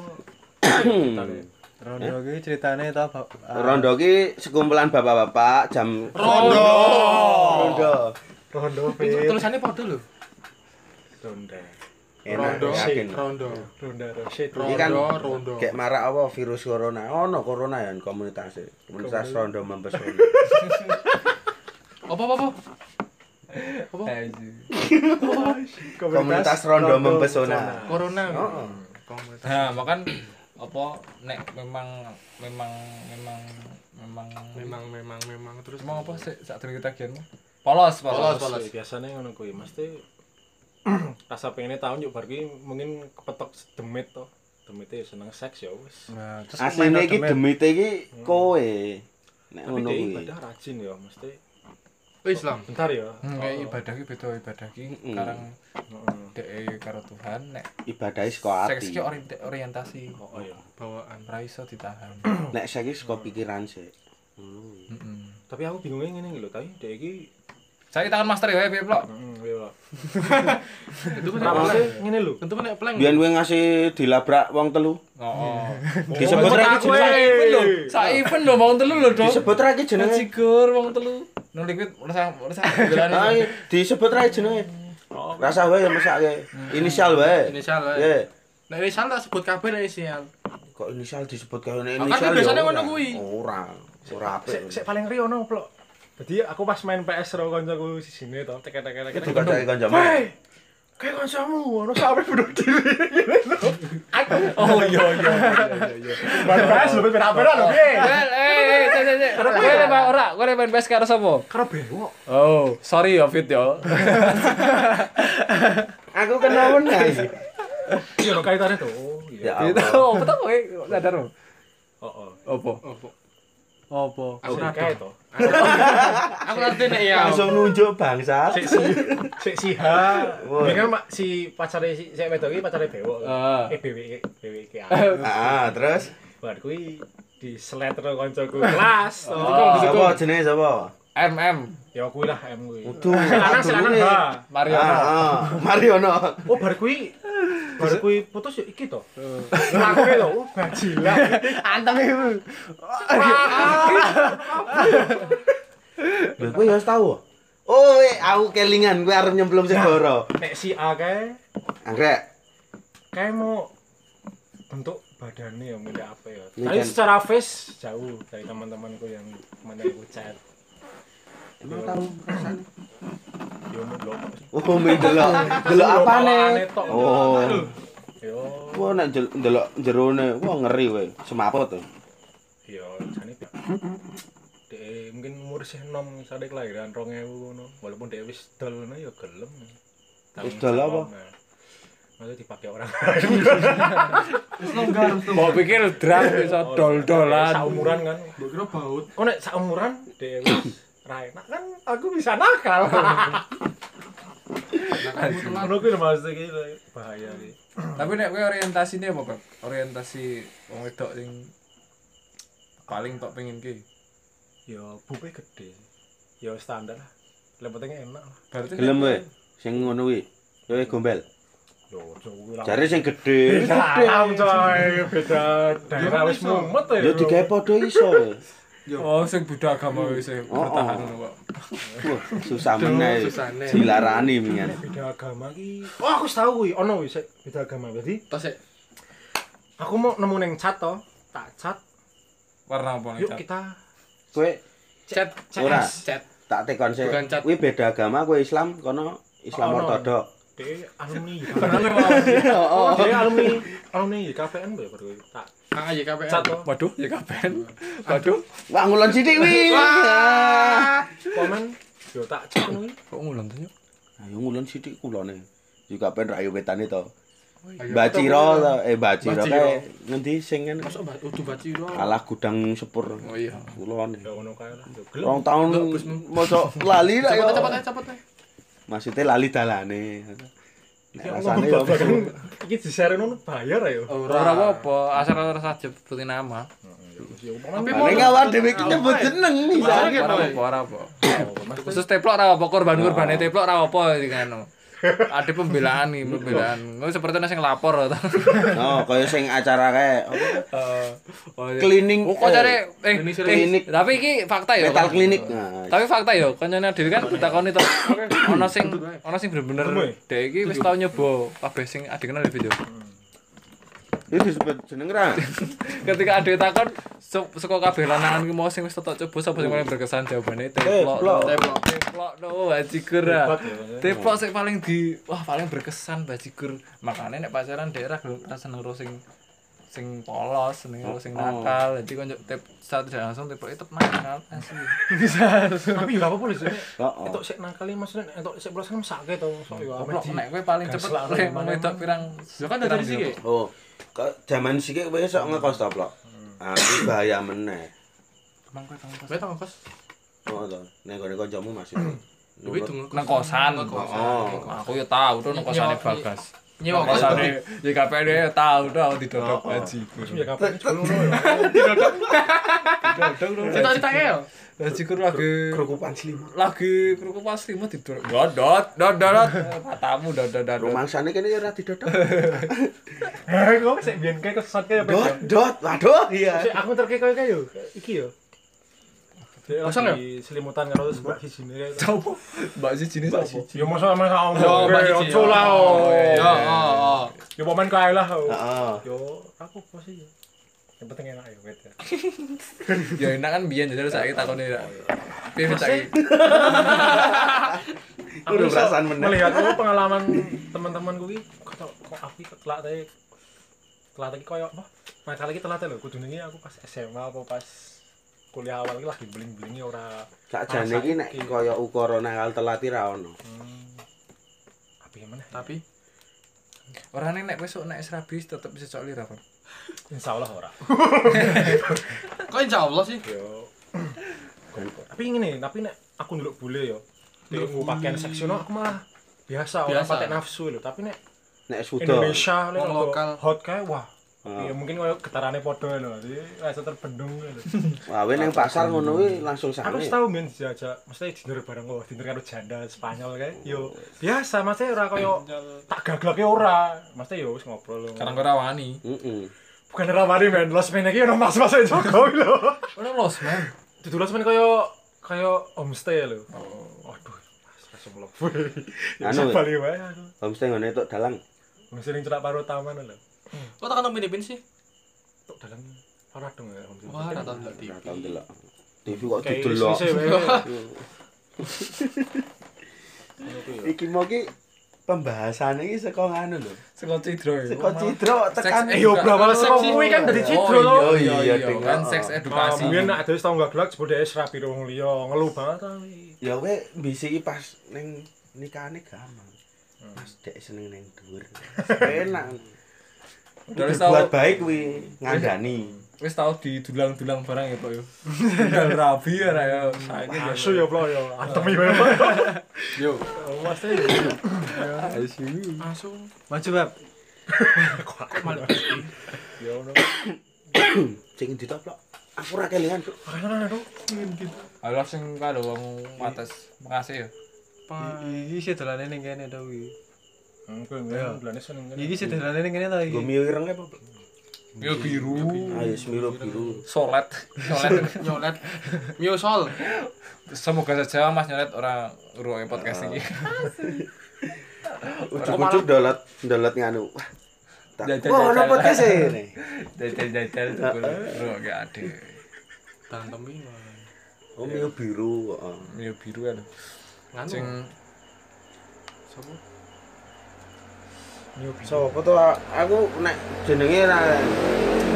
F: Rondo iki ceritane ta, Bab. Ah,
D: Rondo ki sekumpulan bapak-bapak jam
C: Rondo.
D: Rondo.
A: rondo
C: Itu
A: fit
C: Tulisannya padha lho.
A: rondo
D: Enak
C: Rondo.
D: yakin.
C: Rondo.
A: rondo rosit
D: Ini kan
C: Rondo, rondo.
D: kayak marak apa virus corona. Oh, no corona ya komunitas e. komunitas rondo mempesona.
C: Apa apa apa?
D: Komunitas rondo mempesona.
C: Corona.
D: Heeh.
B: Nah, makan apa nek memang memang memang memang
C: Memang memang memang terus
B: memang apa sih sak durung ketagihanmu? Polos,
C: Polos,
B: polos.
C: polos.
A: Terus biasanya ngono kuwi mesti rasa pengennya tahun yuk bar kuwi mungkin kepetok demit to demite ya seneng seks ya wis
F: Nah, terus
D: Asline iki demite iki kowe. Nek
A: tapi dia
D: ngono kuwi.
A: ibadah rajin ya mesti
C: Oh, Islam.
A: bentar ya
B: Hmm, kayak ibadah ki beda ibadah ki
D: Mm-mm.
B: karang
A: Heeh.
B: dhek karo Tuhan nek
D: Ibadahe saka
B: seks
D: ati.
B: ki orient- orientasi kok
A: oh iya
C: Bawaan.
B: ora iso ditahan.
D: Nek saiki saka pikiran sik.
B: Heeh.
A: tapi aku bingungnya ngene iki lho tapi dia iki mm,
B: Saiki tangan master ya piye plok?
A: heeh ya
C: Itu kan
A: ora
C: plank.
A: maksudnya ngene lho
C: Itu kan plank.
D: Biyen kowe ngasih dilabrak wong telu.
B: Heeh.
D: Disebut ra iki
B: Sak Oh, event lho,
D: jenenge.
B: sak event lho wong telu lho, Dok.
D: Disebut ra iki jenenge.
B: Sigur wong telu. Nang liquid rasa rasa
D: Ah,
B: jalan.
D: iya. disebut ra iki jenenge. Rasa wae ya mesake. Inisial wae.
C: Inisial wae.
D: Iya.
C: Nek inisial tak sebut kabeh nek inisial.
D: Kok inisial disebut kaya ngene
C: kan
D: inisial.
C: biasanya
D: ya
C: ngono
D: ora.
C: kuwi.
D: Ora. Ora apik.
A: sik sik paling ri ono plok jadi aku pas main PS karo kancaku di sini to tek tek tek
D: Itu kata ikan jaman.
A: Hei, kayak kancamu, ono sampe bunuh diri.
B: Oh iya iya.
A: Baru PS lebih pera-pera lho, piye?
B: Well, eh eh cek cek cek. Kowe lek ora, kowe lek main bes karo sapa?
A: Karo bewok.
B: Oh, sorry ya Fit ya.
D: Aku
C: Eh,
D: kena menang.
A: Iya, ono kaitane to. Oh, iya.
D: Ya
B: Itu opo
D: Allah.
B: to kowe Kok sadar?
A: Oh, oh.
B: Opo?
C: Opo?
F: Apa?
A: Aku kae to.
C: Aku ngerti nek ya.
D: langsung nunjuk bangsa
A: Si si si si H. Ini kan mak- si pacare si si wedok iki pacare Dewo.
E: Ah.
A: Eh BW BW iki.
D: ah terus
A: Bar kuwi di seletro kancaku kelas. to.
D: siapa jenis siapa
B: MM
A: Ya kuwi lah M kuwi.
D: Utuh,
A: Selanang
D: utuh
A: selanang
D: ini.
A: H.
B: Mariana
D: ah ah. Mariono
A: Oh bar kuwi bar kuwi putus yo iki to. Aku lho, oh bajila.
F: Antem iku.
D: Lho, kowe harus tahu oh eh, aku kelingan kowe arep nyemplung segoro
A: Nek si A kae
D: anggrek
A: kayak mau bentuk badannya ya milih apa ya
D: Ini
A: tapi
D: kan-
A: secara face jauh dari teman-temanku yang mana aku chat
D: emang tahu rasanya
A: yo mau blok
D: oh main delok delok apa
A: Apaan tok?
D: oh
A: yo
D: Wah, nek jel- ndelok jerone, wah ngeri kowe. Semaput tuh.
A: yo jane dia dia mungkin umur sih nom sade kelahiran 2000 ngono walaupun dia wis dol ngono ya gelem
D: Wis dol apa?
A: Maksudnya dipakai orang lain
B: mau pikir drang bisa dol-dolan
A: Saumuran kan
C: Mbok kira baut.
A: Kok nek saumuran dia wis ra enak kan aku bisa nakal Ngono kuwi lho maksud iki lho, bahaya iki.
B: tapi nek kowe orientasine apa Bang? orientasi wong wedok sing paling tok pengen ki
A: Ya buke gede. Ya standar lah. Lah penting enak lah.
B: berarti
D: Gelem kowe sing ngono kuwi. Kowe gombel.
A: Yo cukup lah.
D: Jare sing gedhe.
A: Salam coy, beda daerah wis mumet ya.
D: Ya digawe padha iso.
B: oh sing beda agama wis sing
D: Oh, oh.
B: bertahan ngono kok
D: Wah, susah meneh.
C: susahne.
D: Dilarani mingan.
A: Beda agama iki. Oh aku wis tau kuwi, ono wis beda agama. Berarti
C: Tos sik.
A: aku mau nemu ning chat to, tak chat.
B: warna apa nih
A: Yuk
B: Cak?
A: kita
D: Kowe
C: Chat.
D: Ora.
C: Chat.
D: tak tekon sik.
C: Bukan cat.
D: Kuwi beda agama, kowe Islam, kono Islam
A: Oh, no.
D: Ortodok.
A: de alumni. Oh, de alumni, alumni KPN ya baru kuwi. tak
C: Ah ya KPN.
A: chat to.
B: waduh ya kapan waduh
D: Wah, ngulon sithik kuwi.
A: Komen yo tak chat kuwi.
B: kok ngulang tuh yuk?
D: Ayo ngulon sithik kulone. Juga pen rayu wetane to. Baciro to, eh Baciro kae ngendi sing kan
C: Masuk mbak udu baci ro.
D: kalah gudang sepur
B: oh iya
D: kulone.
A: Yo ngono kae lah. Yo gelem.
D: Rong tahun
C: Nggak, Gus, Mem.
D: mosok lali lah ya.
C: Cepet cepet ae, cepet ae.
D: Maksudnya lali dalane. Nek
A: Ya,
D: rasane
A: rasane
D: ya
A: yo. Iki disare ngono bayar ayo.
B: ora apa-apa asal ora saja sebutin nama
A: Tapi
D: Nek awak dhewe ki nyebut jeneng bisa.
B: ora apa ora
C: Ora
B: apa khusus teplok ora apa korban korban eh, teplok ora apa iki kan ada pembelaan nih pembelaan Nggak seperti nasi yang lapor atau
D: Oh, kaya sing acara kae apa? Cleaning.
B: Oh, kok cari eh,
D: klinik.
B: eh, tapi iki fakta ya.
D: metal
B: Kak?
D: klinik. Nah,
B: Tapi fakta ya, kancane Dewi kan ditakoni to. Ono sing ono sing bener-bener Dewi iki wis tau nyoba kabeh sing adegan ada video.
D: itu disebut jeneng ra.
B: Ketika ade takon se- saka kabeh lanangan ki mau sing wis tau coba sapa sing paling berkesan jawabane teplok.
D: Teplok.
B: Teplok. Teplok no bajigur. ah. Teplok sing paling di wah paling berkesan bajigur. Makane nek pacaran daerah gelem ra seneng ro sing sing polos, seneng ro sing nakal. Jadi konco tep satu jalan langsung teplok itu nakal asli.
A: tapi gak apa-apa lho sih.
D: Heeh.
A: Entuk sik nakali maksudnya entuk sik bolos kan sakit to. Sok yo ame
B: Blok
A: di.
B: nek kowe paling
A: gas
B: cepet
A: lah,
B: kowe
A: kemana-mana.
B: memedok pirang.
C: Ya kan dari sini.
D: Oh, ke jaman siki kowe sok ngekos ta, Plok? Ah, iki bahaya meneh.
B: Emang kowe tau
C: Kowe tak kos.
D: Oh, to. Nek gone kancamu masih.
A: Hmm.
C: Kowe tunggu.
B: nang kosan.
D: Oh.
B: Wah, Aku ya tau tuh nang kosane
C: Nyewa-
B: Bagas.
C: Nyewa
B: Nang
C: kos.
B: kosane YKPD ya tau tuh aku didodok gaji.
A: Terus ya kapan dulu yo.
B: Didodok dong.
C: Cerita-cerita ya.
B: Gaji kur lagi
D: Kerukupan selimut.
B: lagi kerupuk pas lima didodok. Dodot, dodot. Matamu dodot dodot.
D: Rumangsane kene ya ora didodok.
A: Eh kok sik biyen kae kesat kae apa?
D: Dot, dot. Waduh, iya.
A: Sik aku terke koyo kae yo. Iki yo.
C: Kosong
A: Kosong ya? Selimutan karo sebelah sisi ini kae.
B: Sopo? Mbak si jenis sopo?
A: Ya masa sama sama
C: Yo,
A: Yo
C: Mbak Cici,
A: ojo
C: yo.
A: lah. oh.
B: iya,
C: Ya, oh, oh.
A: Yo paman kae lah. oh.
D: Heeh.
A: Yo aku apa sih? yo? Yang penting enak ya wet ya.
B: Ya enak kan biyen jadi saiki takone ra. Piye Fit, saiki?
A: Aku
D: Udah
A: iso
D: perasaan meneh.
A: Melihat oh, pengalaman teman-teman gue, kok tau- kok aku iki telat ae. Telat iki koyo apa? Nah, kali iki telat ae lho, kudune iki aku pas SMA apa pas kuliah awal iki lagi bling-blingi ora
D: Sakjane
A: Ah,
D: iki nek
A: Saiki.
D: kaya ukara nakal telati ra ono.
A: apa ya, yang mana?
C: Tapi
B: Orane nek besok nek serabis tetep bisa cok lirah, Bang.
A: Insyaallah ora.
C: kok insyaallah sih?
A: Yo tapi ngene tapi nek aku ndelok bule yo ndelok pakaian seksional aku malah biasa orang
B: Biasa.
A: patek nafsu lho tapi nek
D: Nek sudah.
A: Indonesia lek
C: Wong
A: rada
C: lokal.
A: hot kae wah
D: Ah.
A: Ya mungkin koyo getarane padha lho, jadi rasa terbendung lho.
D: Wawe nang pasar ngono kuwi langsung sak.
A: Aku wis tau men jajak, mesti dinner bareng kok, dinner karo janda Spanyol kae. Yo biasa, mesti ora koyo tak gaglake ora. Mesti yo wis ngobrol lho.
B: Karang ora wani.
D: Heeh.
A: bukan ramani men, los men iki ono mas-mas Jokowi lho.
B: Ono los, man.
A: Dudu los men koyo koyo homestay lho. Oh. Aduh, mas langsung mlebu. Ya anu
D: Anu,
A: bali wae aku.
D: Homestay ngene tok dalang.
A: Wong sering cerak paru taman lho.
C: Kok tak kandung pinipin sih?
A: Tok dalan ora dong ya homestay.
C: Wah, rata ndak di.
D: Ora tau delok. TV kok
A: Kayak
D: didelok.
A: isih-isih wae.
D: Iki mau ki pembahasan iki saka nganu lho.
B: Seko Cidro. ya.
D: Saka Citra tekan
B: Seks
A: Eh yo
B: eduka-
A: bra malah saka
B: Seks-
A: kuwi kan dadi cidro
B: Oh,
A: lho.
B: Iya
D: iya,
B: iya
D: iya,
B: iya kan seks
A: Ah,
B: edukasi.
A: mungkin nek terus tau gak gelak jebul dhek rapi wong liya, ngelu banget ta. wih.
D: Ya kowe bisiki pas ning nikahane gampang. Mas dek seneng ning dhuwur. Enak.
B: Terus tau
D: Buat baik kuwi ngandani.
B: wis tau didulang-dulang barang ya, Pak yo. Dulang rabi ya ra yo. Saiki ya.
A: Asu yo plo yo, atemi wae.
E: Yo.
A: Mas yo.
C: Masuk.
F: Maju, Bab.
C: Malah.
A: Yo ono.
D: Sing ditoplok. Aku ora kelingan. Cuk.
A: Ayo aduh.
B: Alah sing karo wong mates mengasih ya.
F: I- Iki sih dolane ning kene to iki.
A: Engko ngene bulane seneng ngene.
F: Iki sih dolane ning kene to iki.
D: Nggo mio ireng apa?
B: Yo biru.
D: Ayo semilo biru.
B: Solet. Solet.
C: Nyolet. Miosol.
B: Semoga saja Mas Nyolet orang ruang podcast ini.
D: Ujuk-ujuk dolat dolat nganu. Wah. tak-
B: Jajan-
D: Wah, ono
B: jajan.
D: podcast e ini.
B: Jajal-jajal itu ruang gak ada.
C: Tantem
D: Oh, mio biru. heeh.
B: Yo biru ya. lho.
C: Nganu.
B: Sing
C: Sopo?
D: So, foto aku nek jenenge ra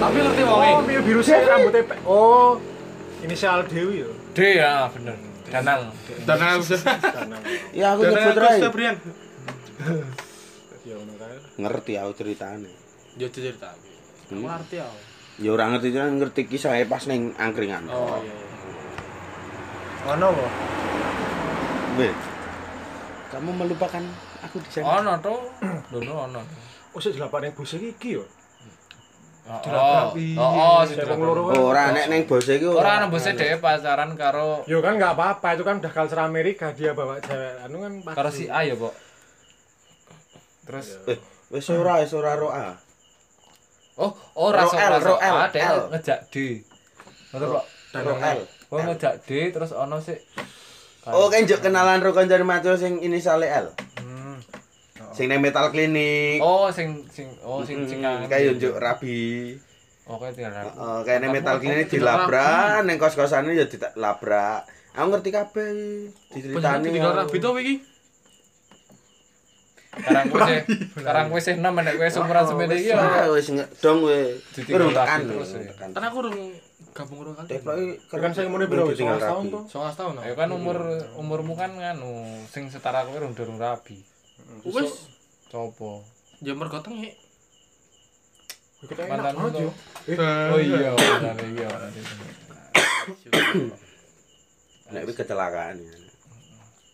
C: Tapi ngerti wonge.
A: Oh, Mio biru sih rambutnya pe. Oh, ini si Aldewi yo.
B: D ya bener. Danang.
C: Dan aku
A: Tanang.
D: Ya aku
C: Dan
D: nyebut
C: aku
D: rae.
C: Brian.
A: Ya ono kae.
D: Ngerti aku ceritane.
C: Yo cerita. Aku ngerti aku.
D: Ya ora ngerti cuman ngerti kisahe pas ning angkringan.
C: Oh iya.
F: Ono apa?
D: Weh. Kamu melupakan aku di sana.
B: Ono to. Dono ono.
A: Oh, sik dilapakne bus iki iki yo.
B: Oh,
A: Dilabrak.
B: Oh, oh, sing
A: Saya wong
B: dilabrak.
A: loro kan.
D: Ora nek ning bose iki
B: Ora nembuse dhewe pacaran karo
A: Yo kan nggak apa-apa, itu kan udah culture Amerika dia bawa cewek anu kan pasti.
B: karo si A ya, Pak. Terus
D: Eh, Wis ora, wis ora ro A.
B: oh, ora
D: Ro
B: sok
D: L,
B: ora
D: Ro
B: sok
D: L,
B: A
D: L.
B: dhewe ngejak D. Ngono Pak.
D: Ro L.
B: Wong ngejak Oh, D terus ono sik
D: Oh, kan njuk kenalan ro kancan maco sing inisiale L. Sing ning metal
B: Hmm.
D: klinik. Hmm,
B: Oh, sing sing oh sing sing kangen.
D: Kayak njuk rabi.
B: Oke, tinggal aku.
D: Heeh, kayaknya metal klinik dilabrak, neng kos-kosannya ya dilabrak. Aku ngerti kabeh diceritani.
C: Pengen tinggal
D: aku.
C: rabi to iki.
B: Karang kowe sih, karang kowe sih enam nek kowe seumuran semene iki ya.
D: Ah, wis nge- dong we.
B: Ditinggal
D: Urung tekan
B: rabi terus,
D: urung
B: ya.
D: tekan.
C: Karena aku urung gabung karo kali.
D: Teplok iki
A: Yo kan saya umurnya piro? 11 tahun tuh.
C: 11 tahun.
B: Ya kan umur umurmu kan nganu sing setara kowe rung durung rabi.
C: Wis
B: Coba.
C: jamur goteng ya.
A: Ikut aja enak
B: Mantan
A: banget yo.
B: lu.
C: Eh.
B: Oh iya, bener, iya.
D: Nek iki kecelakaan. ya.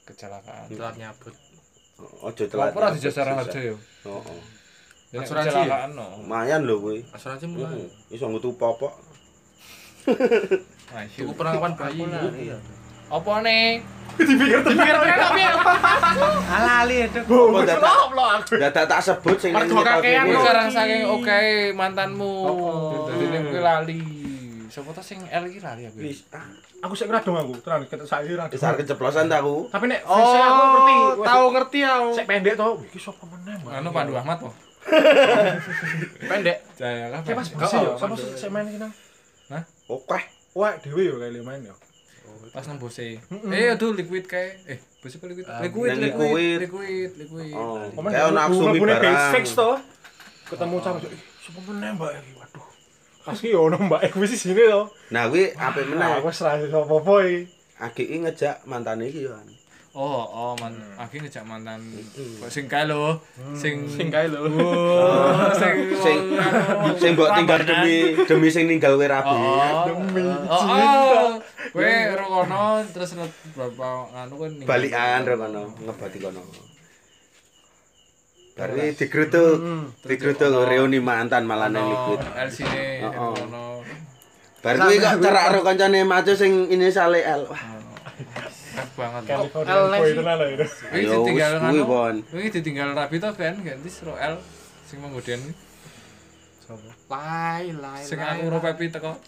B: Kecelakaan.
C: Telat nyabut.
D: Ojo telat.
B: Lapor aja jasa raja yo.
D: Heeh.
B: Ya, nek
C: Asuransi ya?
B: Kecelakaan no.
D: Lumayan lho kowe.
C: Asuransi mulai.
D: Iso ngutu popok.
C: Cukup perlengkapan bayi.
B: Apa nih?
F: Alali itu.
D: Apa dadak? Dadak tak sebut sing ning
C: Mergo
D: metal
B: Kowe
C: kakean, Mergo.
D: klinik.
B: jarang saking oke mantanmu. Dadi nek kowe lali. Sopo ta sing L iki lali aku. ya?
D: Wis, ah,
A: Aku sik ngeradong aku, tenan ketek saiki radong.
D: Besar Oh, keceplosan ta aku.
A: Tapi nek face aku ngerti. Wes,
C: tahu ngerti aku.
A: Sik pendek to, iki sapa meneh, Mbak?
B: Anu Pandu Ahmad po.
C: Pendek.
B: Jaya lah.
A: Kayak pas
B: Mas
A: bus yo, sapa sih sik main iki nang?
D: Oke.
A: Wah, dhewe yo kayak main yo.
B: pas nang bose. Eh aduh liquid kae. Eh bose apa liquid? Liquid
D: yang
B: liquid
D: liquid.
B: liquid liquid.
D: Oh,
A: Komen
D: kayak ono aksumi barang.
A: fix to. Ketemu sama Cuk, "Ih, sapa meneh Mbak iki? Waduh. Pasti yo ono Mbak aku wis sini to.
D: Nah, kuwi apik meneh.
A: Nah, aku wis ra iso apa-apa iki.
D: Agi ngejak mantane iki yo.
B: oh oh man aku ngejak mantan kok sing kae lho sing
C: Sing kae lho.
B: Oh, sing
D: Sing sing mbok tinggal demi demi sing ninggal kowe
B: oh
D: rabi.
B: oh. oh oh kowe rokono terus net- berapa anu kan ning-
D: Balikan ro kono, ngebati kono. Dari digrutuk,
C: Hmm,
D: digrutuk reuni mantan malah nang
B: no
D: ikut.
B: LC ne
D: Oh, oh.
B: rokono
D: Bar kuwi kok cerak ro kancane maco sing ini sale L. Wah,
C: Eh,
B: Enak banget
D: Oh,
A: California Boy tenan lho ya. itu.
B: Wingi
D: Ayo,
B: ditinggal
D: wis kuwi,
B: anu.
D: Bon.
B: Wingi ditinggal rapi to kan ganti sro L sing menggoden
C: Lai lai.
B: sing aku ro Pepi teko.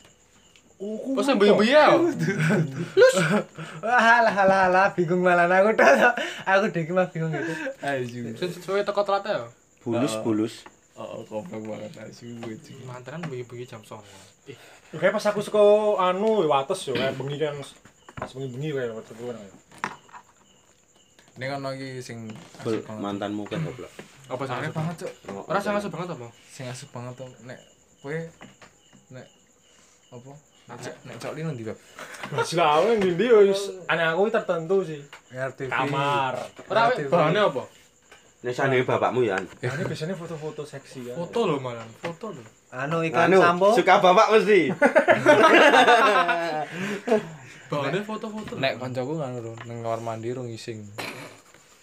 C: Kok sing mbuyah ya?
F: Alah alah alah bingung malah aku dah. Aku dek mah bingung gitu.
B: Ayu.
C: Sing sesuai teko telat ya.
D: Bulus-bulus.
B: Oh, goblok banget ayu wajib.
C: Mantaran mbuyah-mbuyah jam 09.00.
A: Ya, Kayak pas aku suka anu wates yo kayak bengi yang pas bengi-bengi kayak waktu itu kan.
B: Ning ono iki sing
D: Bul,
B: asik banget.
D: mantanmu kan goblok. Oh,
C: Apa sing
B: Aneh
C: asu?
B: banget cuk.
C: Ora sing asu banget apa?
B: Sing asik banget to nek kowe nek apa? Nek- Nek cok li nanti bab.
A: Masih lah aku yang gini yo wis aneh aku ini tertentu sih.
F: RTV.
A: Kamar.
C: Ora bahane apa?
D: Nek sandinge bapakmu ya. An.
A: Nah, Ini biasanya foto-foto seksi ya.
C: Foto lho malah, foto lho.
F: Anu iklan
D: Anu,
F: sampo.
D: suka bapak mesti.
C: Bahane foto-foto.
B: Nek kancaku kan lho nang kamar mandi rung ngising.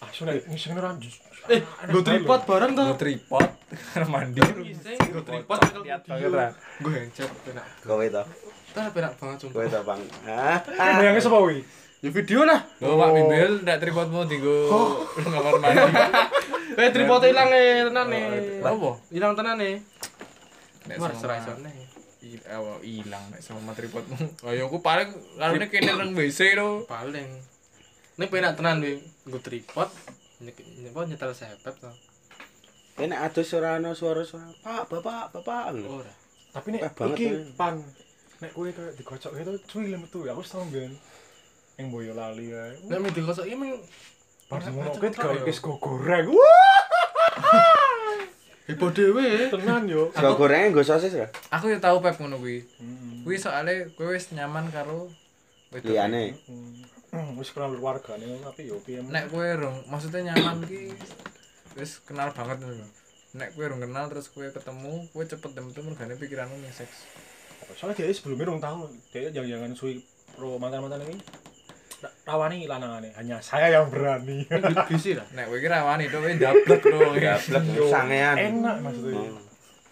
A: Ah, sudah ngising ora njus.
C: Eh, nggo tripod bareng to.
B: Nggo tripod kamar mandi rung.
C: Iseng nggo tripod
B: Lihat banget ra.
C: Nggo headset penak.
D: Kowe to,
C: Tar penak banget
D: kowe
C: sumpah.
D: to, Bang. Hah?
A: Bayangnya sapa kuwi?
C: Ya video lah.
B: Lho Pak Bimbel ndak tripodmu dienggo nang kamar mandi.
C: Eh tripod ilang eh tenan nih.
B: Lha Apa?
C: Ilang tenan nih.
B: Nek
C: Wah,
B: sama-
C: serai sana.
B: I- awa- eh, ilang nek sama tripodmu. Lah ya aku paling larane kene nang WC lho.
C: Paling. Nek penak tenan wi nggo tripod. Nyek nyek- nyetel sepet to.
D: Kene adus ora ana suara-suara. Pak, bapak, bapak.
C: Ora.
A: Tapi nek
D: Wah, banget
A: iki
D: ya.
A: pan nek kowe kayak digocok gitu cuy lem metu ya aku setengah ben. Yang Boyolali ya.
C: Nek mung dikosok iki mung
A: Pas ngono
C: macet
A: kuwi
C: tok
A: digawe
C: ya.
A: kes goreng. Wah,
C: heboh dhewe. eh.
A: tenan yo.
D: Sego gorengnya nggo sosis ya?
B: Aku ya tau pep ngono kuwi. Kuwi soalé kowe wis nyaman karo wedok.
D: Liyane.
A: Hmm, Wis kenal keluargane tapi yo piye.
B: Nek kowe rong, maksudnya nyaman ki wis kenal banget ngono lho. Nek kowe rong kenal terus kowe ketemu, kowe cepet temen-temen mergane pikiranmu ning seks.
A: Soalnya dia sebelumnya dong tahu, dia jangan-jangan sui pro mantan-mantan ini ra- rawani lanangannya, hanya saya yang berani.
C: Bisi lah.
B: Nek kowe ki rawani to kowe ndablek lho.
D: Gablek
A: Yo,
D: sangean.
A: Enak maksudnya.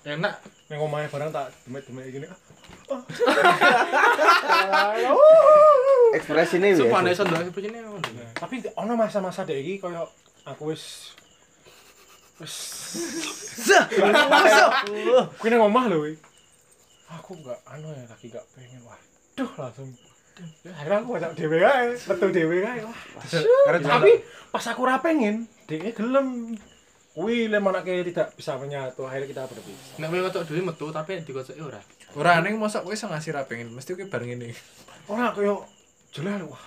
C: Enak.
A: Neng omahnya barang tak demet-demet gini.
D: Ekspresine wis.
C: Sumpah nek iso ndelok seperti ini. apa?
A: Tapi ono masa-masa dek iki koyo aku wis wis kuwi nang omah lho. wih. Aku enggak anu ya lagi enggak pengen. Waduh langsung Ya, akhirnya aku ajak dhewe ae, metu dhewe ae. Wah, tapi pas aku ora pengen, dheknya gelem. Kuwi lem anake tidak bisa menyatu, akhirnya kita berpisah.
C: Nek kowe kotok dhewe metu tapi dikocoki ora.
B: Ora ning mosok kowe iso ngasih ra pengen, mesti kowe bareng ngene.
A: Ora koyo jelas wah.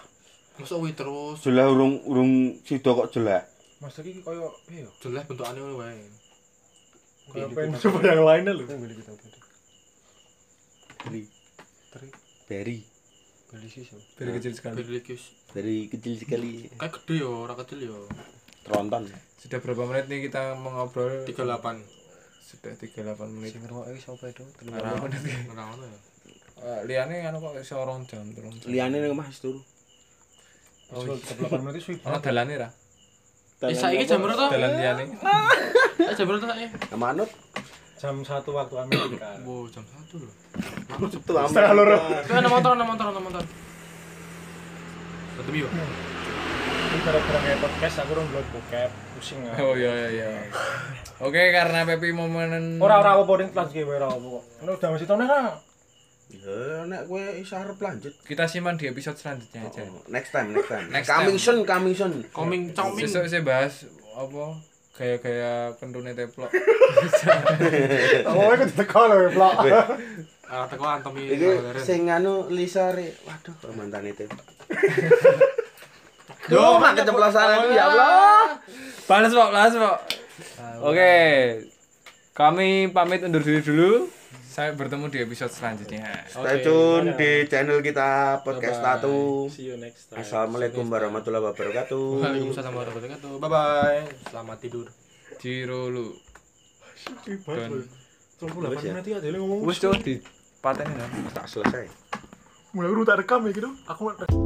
C: Mosok kuwi terus
D: Jelah urung urung sida kok jelah.
A: Mas iki koyo piye yo?
C: jelas bentukane ngono wae.
A: Koyo pengen coba yang lainnya lho.
D: Beri,
B: Dari kecil sekali.
C: Berlikis.
D: beri kecil sekali.
C: Kayak gede ya, ora kecil ya.
D: Tronton.
B: Sudah berapa menit nih kita mengobrol?
C: 38.
B: Sudah 38 menit.
F: Sing ngrungokke sapa itu?
B: Berapa menit?
C: Ora ngono ya.
B: Eh, Liane kan kok iso rong jam, telung jam.
D: Liyane ning omah wis turu.
A: Oh, 18 menit suwi.
B: Ono dalane ra?
C: Eh saiki jam berapa to?
B: Dalan liane.
C: Eh, Jam berapa to saiki?
D: Manut
A: Jam 1 waktu Amerika.
C: Wo, jam 1 lho.
D: tuh amat.
C: Kowe ana motor, ana motor, ana motor. Ketemu yo.
A: Ini gara-gara kayak podcast aku rong blog bokep, pusing aku.
B: Oh iya iya iya. Oke, karena Pepi momen
A: Ora ora apa poding kelas iki ora apa kok. Ini udah mesti tahun ora.
D: Ya nek kowe iso arep lanjut.
B: kita simpan di episode selanjutnya aja.
D: Next time, next time.
B: Next
D: coming
B: time.
D: soon, coming soon.
C: Coming coming.
B: Besok saya bahas apa gaya-gaya kentune teplok.
A: Oh, aku diteko lho blog.
C: Ah, teko antemi.
D: Iki sing anu Lisa Re. Waduh, mantan itu. Yo, mak keceplosan aku ya Allah.
B: Balas, Pak, balas, Pak. Oke. Kami pamit undur diri dulu. Saya bertemu di episode selanjutnya.
D: Stay tune di channel kita podcast Tatu.
A: See you next time.
D: Assalamualaikum warahmatullahi wabarakatuh.
C: Waalaikumsalam warahmatullahi wabarakatuh. Bye bye. Selamat tidur.
B: Ciro lu.
A: Tolong pula, menit ya, jadi ngomong.
B: Wis tuh di paten
D: Tak selesai.
A: Mulai urut rekam ya gitu. Aku